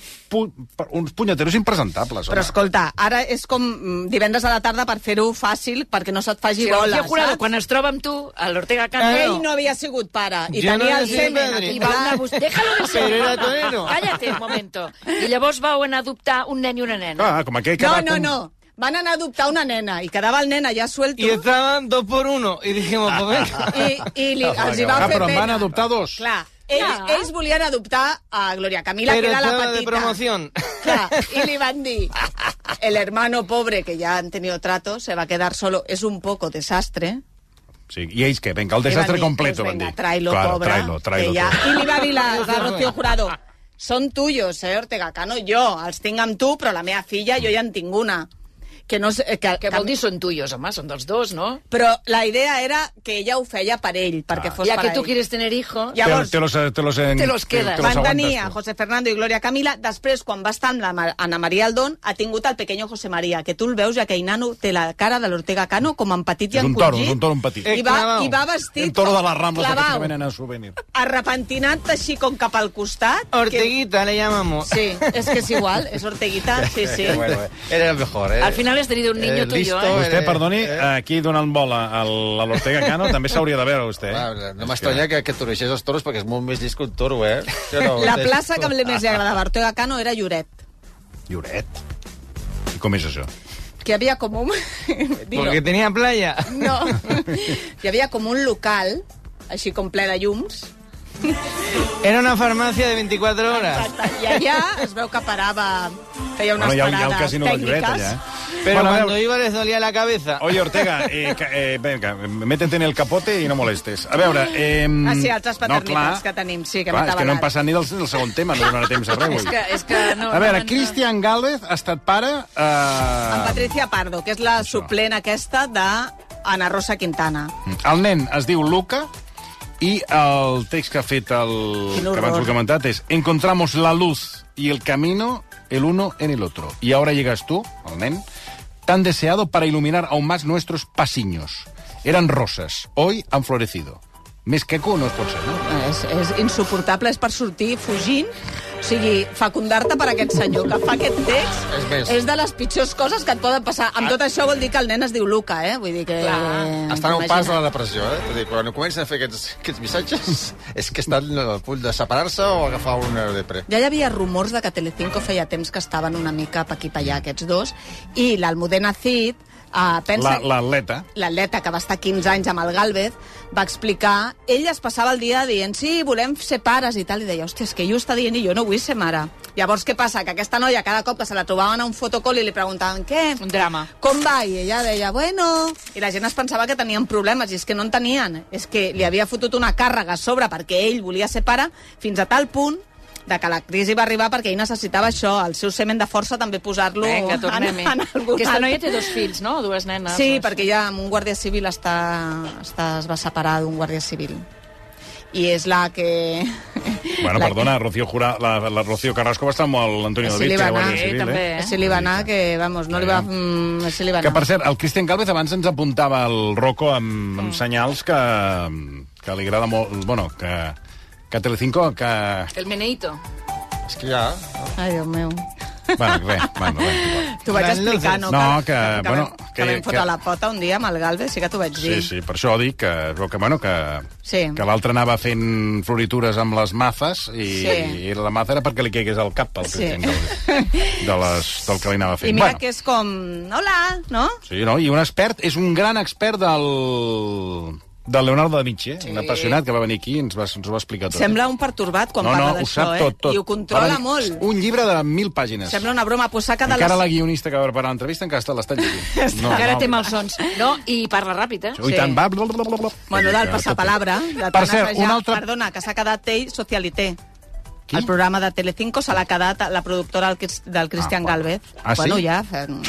pu, uns punyeteros impresentables. Però home. escolta, ara és com mm, divendres a la tarda per fer-ho fàcil, perquè no se't faci Si la bola, Rocío Jurado, saps? quan es troba amb tu, a l'Ortega Cano... Ell no havia sigut pare i Jo no tenia el havia sigut semen. padre. aquí, I va anar a clar. buscar... Déjalo de ser. Però era torero. Cállate un momento. I llavors vau anar a adoptar un nen i una nena. Clar, com aquell que No, va no, com- no. Van anar a adoptar una nena i quedava el nen allà suelto Y i, estaban dos por uno. Y dijimos, pues venga. i li, els hi va Ah, fer però en van pena. adoptar dos. Clar, ells, Ja. ells volien adoptar a Gloria Camila, Pero que era la estaba petita. de promoción. Clar, i li van dir, el hermano pobre, que ja han tenido trato, se va a quedar solo, es un poco desastre. Sí, I ells què? Venga, el I van desastre dir, completo, pues van venga, dir. Tráelo, Claro, pobre. Tráelo, tráelo. que ja... todo. I li va dir la, la Rocío Jurado, són tuyos, eh, Ortega Cano, jo els tinc amb tu, però la meva filla jo ja en tinc una. Que no sé, que, Que vol dir són tuyos, home, són dels dos, no? Però la idea era que ella ho feia per ell, Ah. perquè fos Ja per que tu ell. quieres tener hijos... Ja- llavors- te, te los, te los, en, Te los quedas. te los Van aguantes tenir a tu. José Fernando i Gloria Camila, després, quan va estar amb la Mar- Ana Maria Aldón, ha tingut el pequeño José María, que tu el veus, ja que el nano té la cara de l'Ortega Cano com empetit i És un encongit. toro, és un toro petit. I va, Clavau. i va vestit El toro de les Rambles, aquests clavau, que venen a souvenir. arrepentinat així com cap al costat. Orteguita le llamamos. Sí, és que és igual, és Orteguita, sí, sí. Era el mejor, eh? Al final has tenido un niño Eh, tu i jo, listo. eh? Vostè, Eh, perdoni, eh. aquí donant bola al- a l'Ortega Cano, també s'hauria de veure, vostè. eh? Clar, no m'estranya que, que toreixés els toros perquè és molt més llest que un toro, eh? Sí o no? La plaça que més li agradava a Ortega Cano era Lloret, Lloret. I com és això? que hi havia com un... Dilo. Porque tenía playa. No. Hi havia com un local, així com ple de llums, Era una farmacia de 24 horas. Exacte. I allà es veu que parava, feia hi ha, unes hi ha el parades casino de Lloret, allà. tècniques. eh? Pero Bueno, a cuando ver. iba les dolía la cabeza. Oye, Ortega, eh, ca- eh, venga, métete en el capote i no molestes. A veure... Eh, Ah, sí, altres paternitats no, que tenim, sí, que clar, m'ha és que no hem demanat. passat ni del, del segon tema, no donarà temps a res. És avui. que, és que no, a veure, no, Cristian Gálvez ha estat pare... Amb Eh, Patricia Pardo, que és la suplent aquesta de Ana Rosa Quintana. el nen es diu Luca i el text que ha fet el... Quin que abans horror. ho he comentat és Encontramos la luz y el camino el uno en el otro. Y ahora llegas tú, el nen, tan deseado para iluminar aún más nuestros pasiños. Eran rosas, hoy han florecido. Més queco no es pot ser, no? És, és insuportable, és per sortir fugint. O sigui, fecundar-te per aquest senyor que fa aquest text És més. Ah. de les pitjors coses que et poden passar. Amb tot això vol dir que el nen es diu Luca, eh? Vull dir que... Estan a un pas de Imagina't. la depressió, eh? És a dir, quan comencen a fer aquests, aquests missatges és que estan al punt de separar-se o agafar una depre. Ja hi havia rumors de que Telecinco feia temps que estaven una mica pa aquí pa allà aquests dos i l'Almudena Cid eh, pensa... La- L'atleta. l'atleta que va estar 15 anys amb el Galvez, va explicar... Ella es passava el dia dient, sí, volem ser pares i tal, i deia, hòstia, és que ell ho està dient i jo no vull ser mare. Llavors, què passa? Que aquesta noia, cada cop que se la trobaven a un fotocol i li preguntaven, què? Un drama. Com va? I ella deia, bueno... I la gent es pensava que tenien problemes, i és que no en tenien. És que li havia fotut una càrrega a sobre perquè ell volia ser pare, fins a tal punt de que la crisi va arribar perquè ell necessitava això, el seu semen de força també posar-lo Vinga, tornem-hi. en, en algun Aquesta noia altre. té dos fills, no? Dues nenes. Sí, no? perquè ja amb un guàrdia civil està, està, es va separar d'un guàrdia civil. I és la que... Bueno, la perdona, Rocío, Jura, la, la Rocío Carrasco va estar amb el Antonio Així David, li que va era anar, guàrdia eh, civil, també, eh? Que, així li va anar, que, vamos, no li va... Mm, així li va Que, anar. per cert, el Cristian Galvez abans ens apuntava el Rocco amb, amb senyals que, que li agrada molt... Bueno, que, que Telecinco... Que... El meneito. És que ja... Ai, Déu meu. Bueno, res, bueno, res. T'ho vaig Gran explicar, no? No, que, bueno, vam, que- que vam fotre que- la pota un dia amb el Galvez, sí que t'ho vaig Sí, dir. sí, per això dic que, que, bueno, que, Sí. que l'altre anava fent floritures amb les mafes i, Sí. i la mafa era perquè li caigués al cap al Sí. Cristian Galvez de les, del que li anava fent. I mira bueno, que és com... Hola, no? Sí, no? I un expert, és un gran expert del del Leonardo da Vinci, eh? sí. un apassionat que va venir aquí i ens va, ens ho va explicar tot. Sembla un perturbat quan no, parla no, ho d'això, sap eh? tot, tot. I ho Va controla venir- molt. Un llibre de mil pàgines. Sembla una broma posada de Encara les... la guionista que va preparar l'entrevista encara està l'està llegint. No, Encara té malsons. No, i parla ràpid, eh? Sí. I tant, va... Bla, bla, bla, bla. Bueno, del passapalabra. de Per tant cert, assajar- un altre- Perdona, que s'ha quedat ell socialité. Qui? El programa de Telecinco se l'ha quedat la productora del, Crist- del Cristian bueno. Galvez. Ah, sí? Bueno, ja...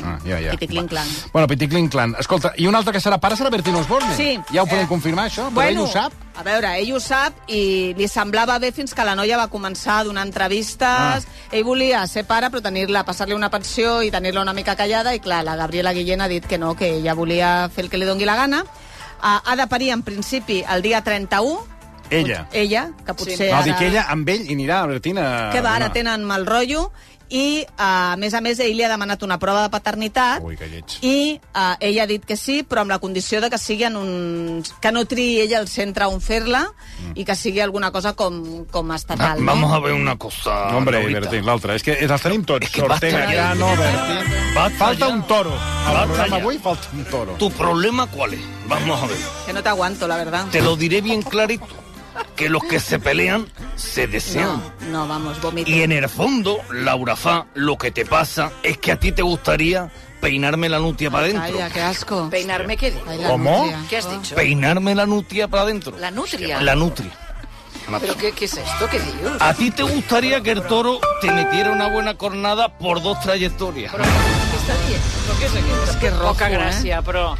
Ah, ja, ja. I clan. Bueno, Piticlin Clan. Escolta, i un altre que serà pare serà Bertino Osborne. Sí. Ja ho podem Eh, confirmar, això? Però ell ho sap? A veure, ell ho sap i li semblava bé fins que la noia va començar a donar entrevistes. Ah. Ell volia ser pare, però tenir-la, passar-li una pensió i tenir-la una mica callada. I clar, la Gabriela Guillén ha dit que no, que ella volia fer el que li dongui la gana. Ah, ha de parir, en principi, el dia 31. Ella. Ella, que potser Sí. No, ara... dic ella amb ell i anirà a Bertina. Ah, que va, ara No. tenen mal rotllo i, eh, a més a més, ell li ha demanat una prova de paternitat Ui, que lleig. i eh, ella ha dit que sí, però amb la condició de que sigui en un... que no triï ella el centre on fer-la i que sigui alguna cosa com, com Ah, estatal. Mm. Vamos a no? ver una cosa. No, hombre, Laurita. Bertín, l'altre. És que els tenim tots. que Ortega, basta ya. Llano, Bertín. Falta un toro. Basta Al programa ya. avui falta un toro. ¿Tu problema cuál es? Vamos a ver. eh? Que no t'aguanto, la verdad. Te lo diré bien clarito. Que los que se pelean se desean. No, no, vamos, vomito. Y en el fondo, Laura Fa, lo que te pasa es que a ti te gustaría peinarme la nutia para adentro. Calla, que asco. Peinarme, què dius? Ai, la ¿Cómo? nutria. Què has dicho? Peinarme la nutia para adentro. La nutria. La nutria. Però què, què és esto? Què dius? ¿A ti te gustaría que el toro te metiera una buena cornada por dos trayectorias? És que rojo, Poca eh? gràcia, però...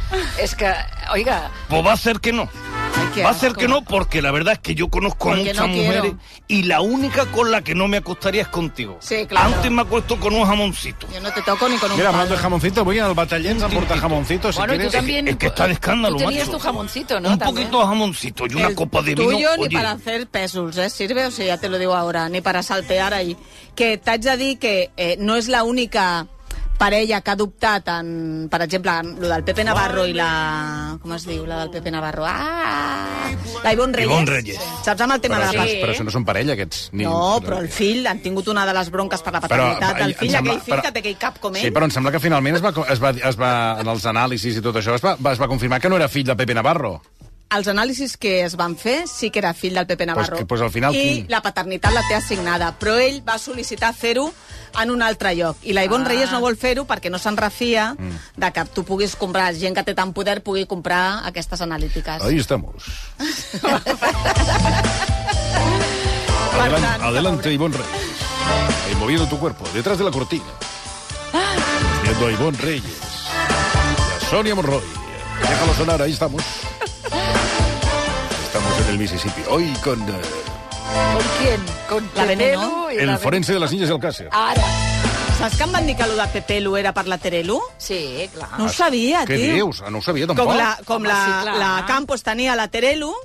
És que, oiga, Pues va a ser que no. Ai, que Va a ser asco. que no, porque la verdad es que yo conozco a Porque muchas no quiero. mujeres y la única con la que no me acostaría es contigo. Sí, claro. Antes me acuesto con un jamoncito. Yo no te toco ni con un Mira, hablando palo. de jamoncito, voy al batallén a portar jamoncito, si bueno, i tu quieres. també... Es que está de escándalo, Tu tenies macho. tu jamoncito, no? Un També. poquito de jamoncito y una El copa de vino. tuyo ni oye, para hacer pesos, ¿eh? Sirve, o sea, ya te lo digo ahora, ni para saltear ahí. Que t'haig de dir que eh, no és la única parella que ha adoptat en, per exemple, en lo del Pepe Navarro i la... Com es diu, la del Pepe Navarro? Ah! La Ivonne Reyes. Ivonne Reyes. Saps amb el tema Però, de això, la Sí. sí. però això no són parella, aquests. Ni... eh, No, però el fill, han tingut una de les bronques per la paternitat del em fill, sembla- aquell fill que té aquell cap com ell. Sí, però em sembla que finalment es va, co- es va, es va, en els anàlisis i tot això es va, es va confirmar que no era fill de Pepe Navarro. els anàlisis que es van fer sí que era fill del Pepe Navarro. que- pues al final I quin- la paternitat la té assignada, però ell va sol·licitar fer-ho en un altre lloc. I la Ah. Ivonne Reyes no vol fer-ho perquè no se'n refia Mm. de que tu puguis comprar, gent que té tant poder pugui comprar aquestes analítiques. Ahí estamos. Per Adelante, tant, adelante Ivonne Reyes. Eh, moviendo tu cuerpo, detrás de la cortina. Viendo a Ivonne Reyes. Y a Sonia Monroy. Déjalo sonar, ahí estamos. Estamos en el Mississippi. Hoy con eh, ¿Con quién? Con La Terelu Veneno. y la Ah, el Veneno. forense de las niñas del Cáceres. Ara. Saps que em van dir que allò de Pepelu era per la Terelu? Sí, clar. No ho sabia, Ah, Què tio. dius? Ah, No ho sabia tampoc. Com la, com Home, la, Ah, sí, clar. la Campos tenia la Terelu,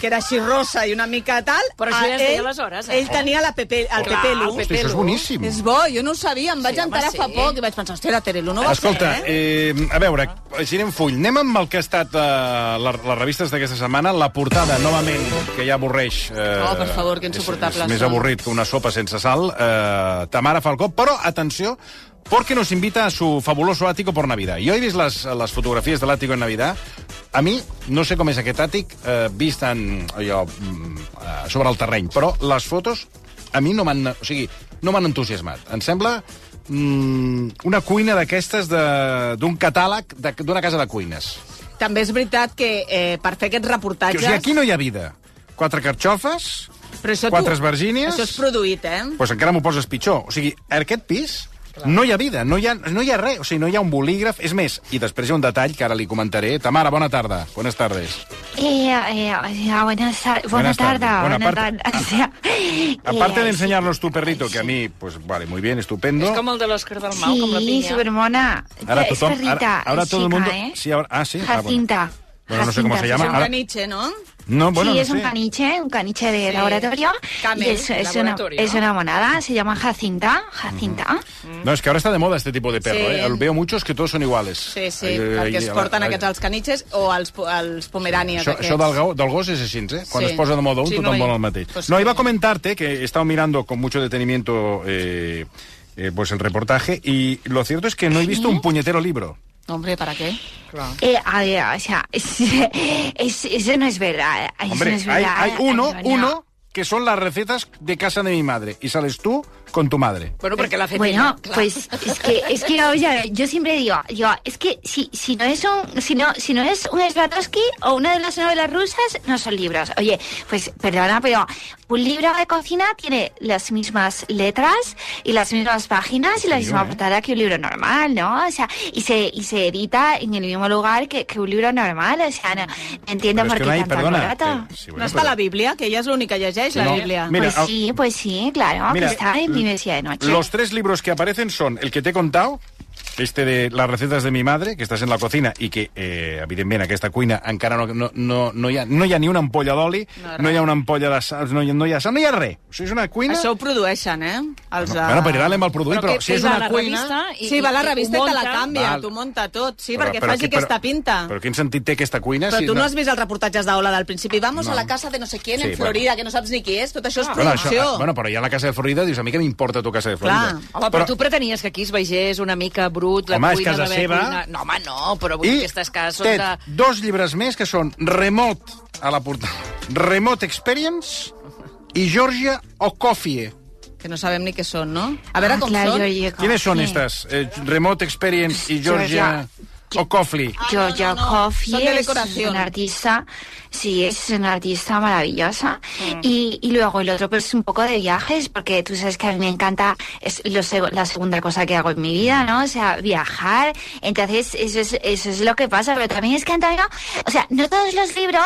que era així rosa i una mica tal... Però això a ja es deia ell- aleshores, eh? Ell tenia la Pepe, el Clar, Ah, Pepelu. el Hosti, això és boníssim. És bo, jo no ho sabia, em vaig Sí, sí, home, enterar fa sí. poc i vaig pensar, hòstia, la Terelu no va Escolta, ser, eh? eh, a veure, així anem full. Anem amb el que ha estat eh, la, les revistes d'aquesta setmana. La portada, novament, que ja avorreix. Eh, Oh, per favor, que insuportables És, és més són. avorrit que una sopa sense sal. Eh, Tamara Falcó, però, atenció, porque nos invita a su fabuloso ático por Navidad. Yo he vist les, les fotografies de l'àtico en Navidad. A mi, no sé com és aquest àtic, eh, vist en, allò, mm, eh, sobre el terreny, però les fotos a mi no m'han... O sigui, no m'han entusiasmat. Em sembla mm, una cuina d'aquestes de- d'un catàleg de- d'una casa de cuines. També és veritat que eh, per fer aquests Que, o reportatges... sigui, aquí no hi ha vida. Quatre carxofes, Però això quatre tu- esvergínies... Això és produït, eh? pues encara m'ho poses pitjor. O sigui, en aquest pis no hi ha vida, no hi ha, no hi ha res, o sigui, no hi ha un bolígraf, és més. I després hi ha un detall que ara li comentaré. Tamara, bona tarda, buenas tardes. Eh, eh, eh, buenas, tar- Buenas buena tardes. tarde, Bueno, buena aparte- Ah, tarde. O sea, Aparte eh, de enseñarnos tu perrito, que a mi, pues vale, muy bien, estupendo. És com el de l'Òscar del Mau, com la Sí, pinya. supermona. Ahora es tothom- perrita, ahora- ahora es todo el chica, mundo- ¿eh? sí, ahora- ah, sí, ah, bueno. Jacinta. Bueno, no sé cómo se Jacinta llama. Un Ara- caniche, no? No, Ah, bueno, sí, no es un sé. caniche, un caniche de Sí. laboratorio. Camel, y es, es laboratorio. Una, es una monada, se llama Jacinta. Jacinta. No, es que ahora está de moda este tipo de perro, Sí. eh. Veo muchos que todos son iguales. Sí, sí, Ai, ai, perquè es ai, porten ai. aquests els caniches o els, po- els pomerànies Això, aquests. això del, gau- del gos és així, eh? Quan Sí. es posa de moda un, Sí, sí, tothom no, no, vol i- el mateix. pues no, sí. iba a comentarte que he estado mirando con mucho detenimiento eh, eh, pues el reportaje y lo cierto es que no he visto un puñetero libro. Hombre, ¿para qué? Eh, a ver, o sea, es- es- eso no es verdad. Eso no Hombre, es hay, verdad. eh, hay uno, Ay, no, no. uno que son las recetas de casa de mi madre y sales tú con tu madre. Bueno, perquè la fet Bueno, ella, clar. pues es que, es que oye, a ver, yo siempre digo, digo, es que si, si no es un, si no, si no es un Swarovski o una de las novelas rusas, no son libros. Oye, pues perdona, pero un libro de cocina tiene las mismas letras y las mismas páginas y la misma portada que un libro normal, ¿no? O sea, y se, y se edita en el mismo lugar que, que un libro normal. O sea, no, no entiendo Pero es por que qué no hay, tanta perdona. culata. eh, sí, No bueno, està la pero- Bíblia, que ella és l'única que llegeix, la No. Bíblia. Mira, pues sí, pues sí, claro, Mira, Ah, que está en l- mi mesía de noche. Los tres libros que aparecen son el que te he contado, este de las recetas de mi madre, que estàs en la cocina i que, eh, evidentment, aquesta cuina encara no, no, no, no, hi, ha, no hi ha ni una ampolla d'oli, no, no hi ha una ampolla de sal, no hi, ha- no hi ha sal, no hi ha res. O sigui, és una cuina... Això ho produeixen, eh? Els, Bueno, bueno, per allà l'hem al produir, però, que si ell és va a una la cuina... revista Sí, va a la ho revista i te la munta. canvia, Val. t'ho munta tot, sí, perquè faci qui- aquesta pinta. Però quin sentit té aquesta cuina? Però tu no has vist els reportatges d'Ola del principi. Vamos a la casa de no sé quién Sí, en bueno. Florida, que no saps ni qui és. Tot això és Bueno, això, producció. ah, bueno, però ja la casa de Florida dius, a mi què m'importa tu casa de Florida? Clar. Home, però, tu pretenies que aquí es veiés una mica brut la Home, és cuina casa de la seva. cuina. No, home, no, però vull dir I que aquestes cases són Ted, de... dos llibres més que són Remot a la portada. Remote Experience i Georgia O'Coffie. Que no sabem ni què són, no? A veure Ah, com claro, són. yo- Quines són sí. estas? Eh, Remote Experience i Georgia O'Coffie. Georgia Ah, no, no, no. Coffey Son de es decoración. una artista, sí, es una artista maravillosa. Mm. Y, y luego el otro, pues un poco de viajes, porque tú sabes que a mí me encanta, es lo seg- la segunda cosa que hago en mi vida, ¿no? O sea, viajar. Entonces, eso es, eso es lo que pasa, pero también es que Antonio, o sea, no todos los libros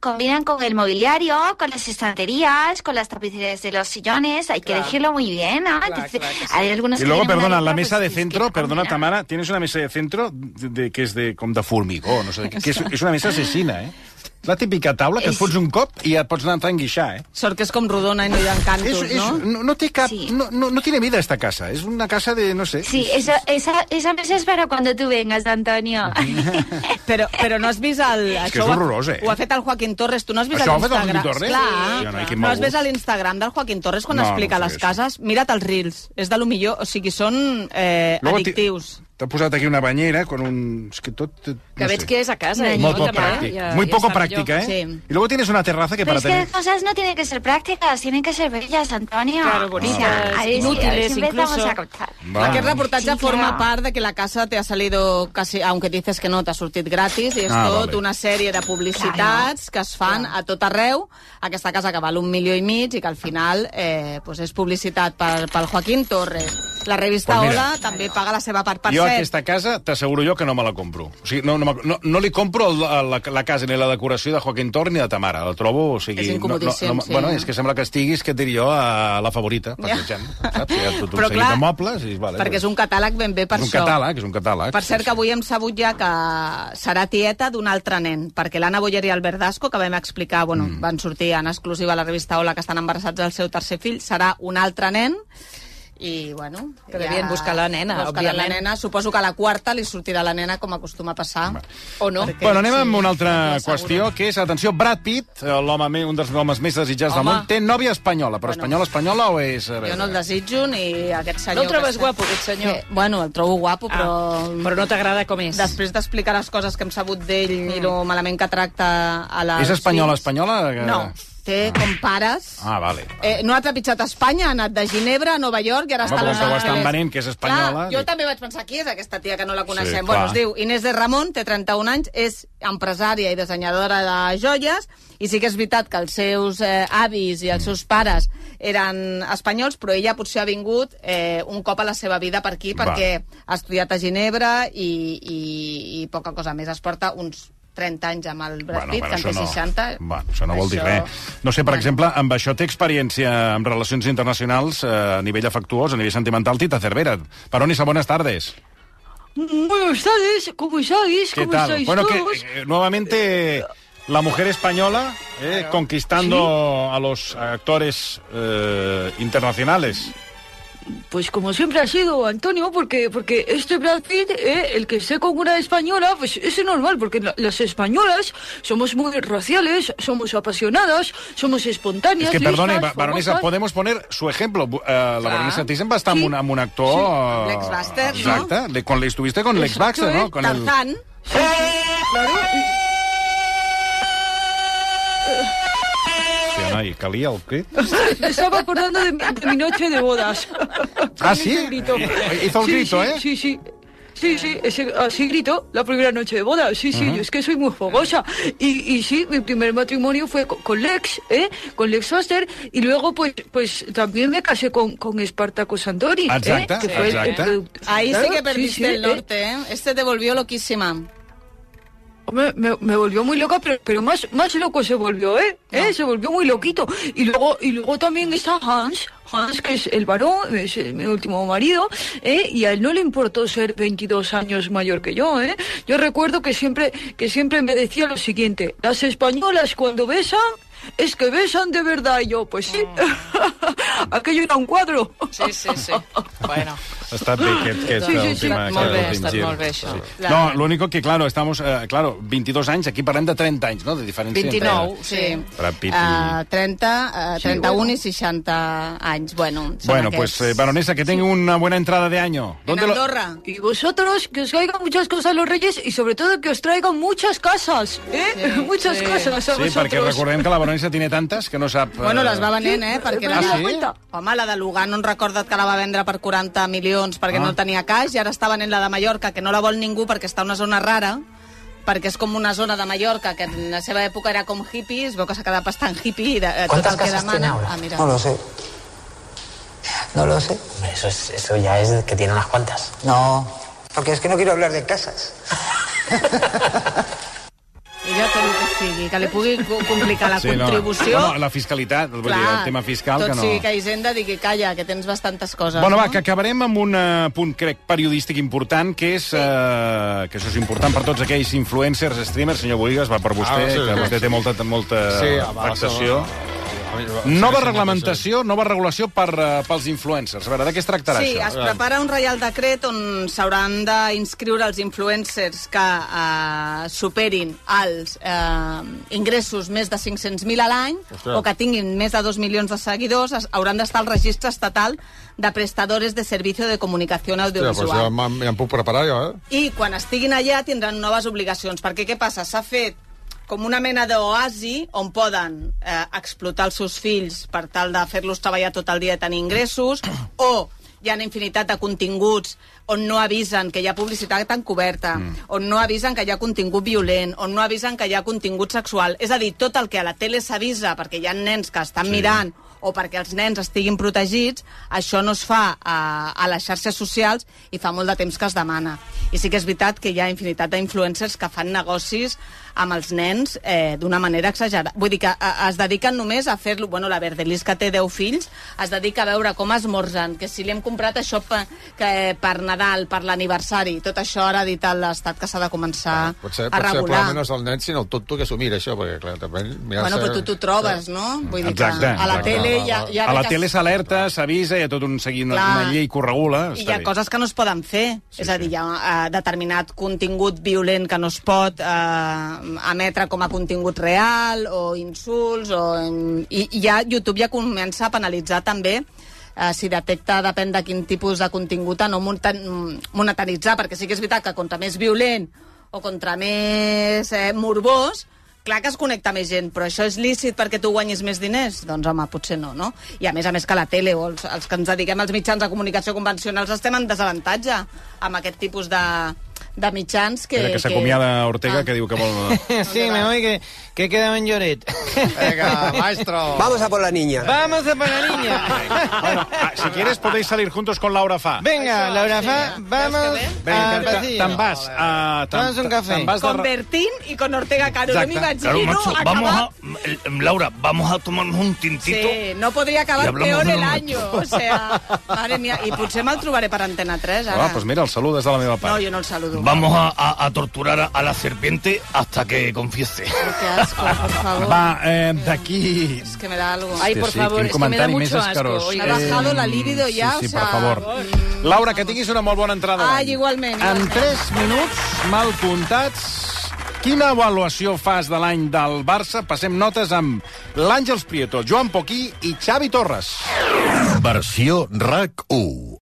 combinan con el mobiliario, con las estanterías, con las tapicerías de los sillones, hay que decirlo muy bien, ¿no? Entonces, hay algunos Y que luego, tienen una perdona, la letra, mesa pues, de es que centro, perdona, combina. Tamara, tienes una mesa de centro de, de- que és de, com de formigó, no sé, de què, que és, és una mesa assassina, eh? La típica taula que et És- fots un cop i et pots anar a enguixar, eh? Sort que és com rodona i no hi ha Es, cantos, es- no? no, no, te cap- Sí. no, no, no tiene vida esta casa. Es una casa de, no sé. Sí, esa, esa, esa mesa es para cuando tú vengas, Antonio. Però, però no has vist el... que és ho ha- horrorós, eh? Ho ha fet el Joaquín Torres. Tu no has vist Això ho ha fet el l'Instagram? Joaquín Torres? Sí, Clar. no, i no, quin mal has vist gust. l'Instagram del Joaquín Torres quan No, no explica ho sé, les això. cases? Mira't els reels. És de lo millor. O sigui, són eh, Luego ti- addictius. T'ha posat aquí una banyera con un... Es que tot... Que Que veig que és a casa. eh? Molt poc També, pràctic. ja- Muy ja poco està millor. práctica, ¿eh? Y luego tienes una terraza que para Pero es que tener... las cosas no tienen que ser prácticas, tienen que ser bellas, Antonio. Claro, bonitas, inútiles empezamos incluso. a contar. Va. Aquest reportatge Sí, forma clar. part de que la casa te ha salido casi, aunque dices que no, t'ha sortit gratis, i és Ah, tot vale. una sèrie de publicitats que es fan a tot arreu. Aquesta casa que val un milió i mig i que al final eh, pues és publicitat per, pel Joaquín Torres. La revista Pues mira. Hola també paga la seva part, per jo cert. aquesta casa t'asseguro jo que no me la compro. O sigui, no, no, me- no, no li compro el, la, la casa ni la decoració de Joaquín Tor ni de ta mare. La trobo, o sigui... És no, no, incomodíssim, no, sí. Bueno, és que sembla que estiguis, que et diré jo, a la favorita, passejant. Saps? Hi ha tot un Però seguit clar, de mobles i... Vale, doncs. perquè és un catàleg ben bé per és un això. catàleg, és un catàleg. Per cert, que avui hem sabut ja que serà tieta d'un altre nen, perquè l'Anna Boller i el Verdasco, que vam explicar, bueno, mm. van sortir en exclusiva a la revista Hola, que estan embarassats del seu tercer fill, serà un altre nen, i, bueno... Que devien buscar la nena, buscaran òbviament. la nena. Suposo que a la quarta li sortirà la nena, com acostuma a passar. O no. Bueno, anem amb una altra qüestió, que és, atenció, Brad Pitt, eh, l'home me- un dels homes més desitjats del Home. món, té nòvia espanyola, però espanyola, espanyola o és... eh, a Jo veure, no el desitjo, ni aquest No senyor... el que trobes està- guapo, aquest senyor? Eh, bueno, el trobo guapo, Ah, però... però no t'agrada com és. Després d'explicar les coses que hem sabut d'ell mm. i lo malament que tracta a la... És espanyola, espanyola? que- No, té ah. com pares. Ah, vale. Eh, no ha trepitjat Espanya, ha anat de Ginebra a Nova York i ara Home, està a com Los que ho Angeles. estan venent, que és espanyola, Clar, jo dic- també vaig pensar, qui és aquesta tia que no la clar. coneixem? bueno, es diu Inés de Ramon, té 31 anys, és empresària i dissenyadora de joies, i sí que és veritat que els seus eh, avis i Mm. els seus pares eren espanyols, però ella potser ha vingut eh, un cop a la seva vida per aquí, Va. perquè ha estudiat a Ginebra i, i, i poca cosa més. Es porta uns 30 anys amb el Brad Pitt, que en té 60. No, bueno, això no vol dir Això- res. No sé, per exemple, amb això té experiència en relacions internacionals eh, a nivell afectuós, a nivell sentimental, Tita Cervera. Peronisa, buenas tardes. Buenas tardes, ¿cómo estáis? ¿Qué ¿Cómo tal? estáis Bueno, que todos? eh, nuevamente la mujer española eh, conquistando a los actores eh, internacionales. Pues como siempre ha sido, Antonio, porque, porque este Brad Pitt, eh, el que esté con una española, pues es normal, porque la- las españolas somos muy raciales, somos apasionadas, somos espontáneas. És que, perdone, listas, baronesa, famosas. podemos poner su ejemplo. Bu- eh, la baronesa Thyssen va estar Sí. amb, un, amb un actor... amb Lex Baxter, no? Exacte. Le- con, le estuviste con Lex Exacto, Baxter, ¿no? eh, Con el- Tarzán... Sí, sí, claro. y- Hòstia, noi, calia el crit. Me estaba acordando de mi, de mi noche de bodas. Ah, Con sí? ese grito. Eh, hizo el Sí, grito, sí, ¿eh? Sí, sí. Sí, sí, ese- así grito la primera noche de boda. Sí, sí, yo es que soy muy fogosa. Y, y sí, mi primer matrimonio fue co- con, Lex, ¿eh? Con Lex Foster. Y luego, pues, pues también me casé con, con Espartaco Sandori. ¿eh? Exacta, Que fue el- el exacta. productor. Ahí sí Claro, que perdiste sí, el ¿eh? norte, ¿eh? Este te volvió loquísima. Me, me- me volvió muy loca, pero, pero más, más loco se volvió, ¿eh? ¿Eh? Se volvió muy loquito. Y luego, y luego también está Hans, Hans, que es el varón, es el- mi último marido, ¿eh? Y a él no le importó ser 22 años mayor que yo, ¿eh? Yo recuerdo que siempre, que siempre me decía lo siguiente, las españolas cuando besan, es que besan de verdad. Y yo, pues sí, aquello era un cuadro. Sí, sí, sí. Bueno. Ha estat bé aquest, aquest Sí, sí, sí. últim, Ha estat aquest molt bé, ha últim estat gir. molt bé, això. Sí. No, l'únic que, claro, estamos, eh, claro, 22 anys, aquí parlem de 30 anys, no?, de diferència. 29, Entre... sí. Brad Pitt i- Ah, 30, eh, 31 Sí, bueno. y 60 años. Bueno, son Bueno, aquests. pues, eh, baronesa, que tenga una buena entrada de año. En lo- Andorra. Y vosotros, que os traigan muchas cosas los reyes y sobre todo que os traigan muchas casas, ¿eh? muchas casas a Sí, perquè vosotros. recordem que la baronesa tiene tantes que no sap... eh, Bueno, les va venent, eh? Sí, Perquè me he la... dado cuenta. Home, la de Lugano, en recorda't que la va vendre per 40 milions perquè Ah. no tenia caix, i ara està venent la de Mallorca, que no la vol ningú perquè està a una zona rara, perquè és com una zona de Mallorca, que en la seva època era com hippie, es veu que s'ha quedat bastant hippie, i de, eh, tot el que demana... Ah, mira. No lo sé. No lo sé. Eso, es- eso ya es que tiene unas cuantas. No. Porque es que no quiero hablar de casas. I jo tot el que sigui, que li pugui co- complicar la no. contribució... Bueno, la fiscalitat, vull dir, el tema fiscal, tot que no... sigui que Hisenda digui, calla, que tens bastantes coses. Bueno, va, no? que acabarem amb un eh, punt, crec, periodístic important, que és... Eh, que això és important per tots aquells influencers, streamers, senyor Boigas, va per vostè, Ah, sí. que vostè té molta, molta Sí, ah, home, afectació. som- Eh, Nova reglamentació, nova regulació per, eh, pels influencers. A veure, de què es tractarà Sí, això? es prepara un reial decret on s'hauran d'inscriure els influencers que eh, superin els eh, ingressos més de 500.000 a l'any Ostres. o que tinguin més de 2 milions de seguidors es, hauran d'estar al registre estatal de prestadores de servicio de comunicació Hòstia, audiovisual. pues ja, m'ha- ja em puc preparar, jo, eh? I quan estiguin allà tindran noves obligacions, perquè què passa? S'ha fet com una mena d'oasi on poden eh, explotar els seus fills per tal de fer-los treballar tot el dia i tenir ingressos, o hi ha una infinitat de continguts on no avisen que hi ha publicitat encoberta, mm. on no avisen que hi ha contingut violent, on no avisen que hi ha contingut sexual. És a dir, tot el que a la tele s'avisa perquè hi ha nens que estan sí. mirant o perquè els nens estiguin protegits, això no es fa a, a les xarxes socials i fa molt de temps que es demana. I sí que és veritat que hi ha infinitat d'influencers que fan negocis amb els nens eh, d'una manera exagerada. Vull dir que a, es dediquen només a fer-lo... Bueno, la Verdelis, que té 10 fills, es dedica a veure com esmorzen, que si li hem comprat això pe, que, eh, per Nadal, per l'aniversari, tot això ara ha dit a l'Estat que s'ha de començar Potser, Ah, a potser regular. probablement no és el nen, sinó el tonto que s'ho mira, això, perquè, clar, també... Bueno, però tu t'ho trobes, no? Vull dir que a la tele hi ha... Hi ha a la beques- tele s'alerta, s'avisa, hi ha tot un seguint una, Clar. una llei que ho regula. I hi Està ha bé. coses que no es poden fer. Sí, és a dir, hi ha eh, determinat contingut violent que no es pot eh, emetre com a contingut real, o insults, o... mm, I, i ja YouTube ja comença a penalitzar també eh, si detecta, depèn de quin tipus de contingut, a no monta- mm, monetaritzar, perquè sí que és veritat que contra més violent o contra més eh, morbós, clar que es connecta més gent, però això és lícit perquè tu guanyis més diners? Doncs home, potser no, no? I a més a més que la tele o els, els que ens dediquem als mitjans de comunicació convencionals estem en desavantatge amb aquest tipus de, de mitjans que... Ah. Mira, que s'acomiada Ortega, que diu que vol... Sí, me voy, que, que he quedado en lloret. Venga, maestro. Vamos a por la niña. Vamos a por la niña. Ah, Si quieres podéis salir juntos con Laura Fa. Venga, Laura Fa, vamos Venga, te- al te- Ah, pasillo. te'n vas. Uh, Vamos a un cafè. Te'n vas de... Con Bertín i con Ortega Caro. No Exacte. m'hi vaig Claro, dir, no, macho, vamos acabar... a, eh, Laura, vamos a tomarnos un tintito. Sí, no podria I acabar hablamos peor de el lo año. O sea, madre mía, i potser me'l trobaré per Antena 3, Ah, ara. doncs mira, el saludes de la meva No, part. jo no el saludo. Vamos a, a- a torturar a, a la serpiente hasta que confiese. Que asco, por favor. Va, eh, d'aquí... Es que me da algo. Ay, por Sí, sí, favor, quin es que me da comentario mucho més asco, escarós. Me oiga. ha bajado Eh, la libido sí, ya, sí, o por sea... favor. Laura, que tinguis una molt bona entrada. Ai, d'any. igualment, En igualment. 3 minuts, mal comptats, quina avaluació fas de l'any del Barça? Passem notes amb l'Àngels Prieto, Joan Poquí i Xavi Torres. Versió RAC 1.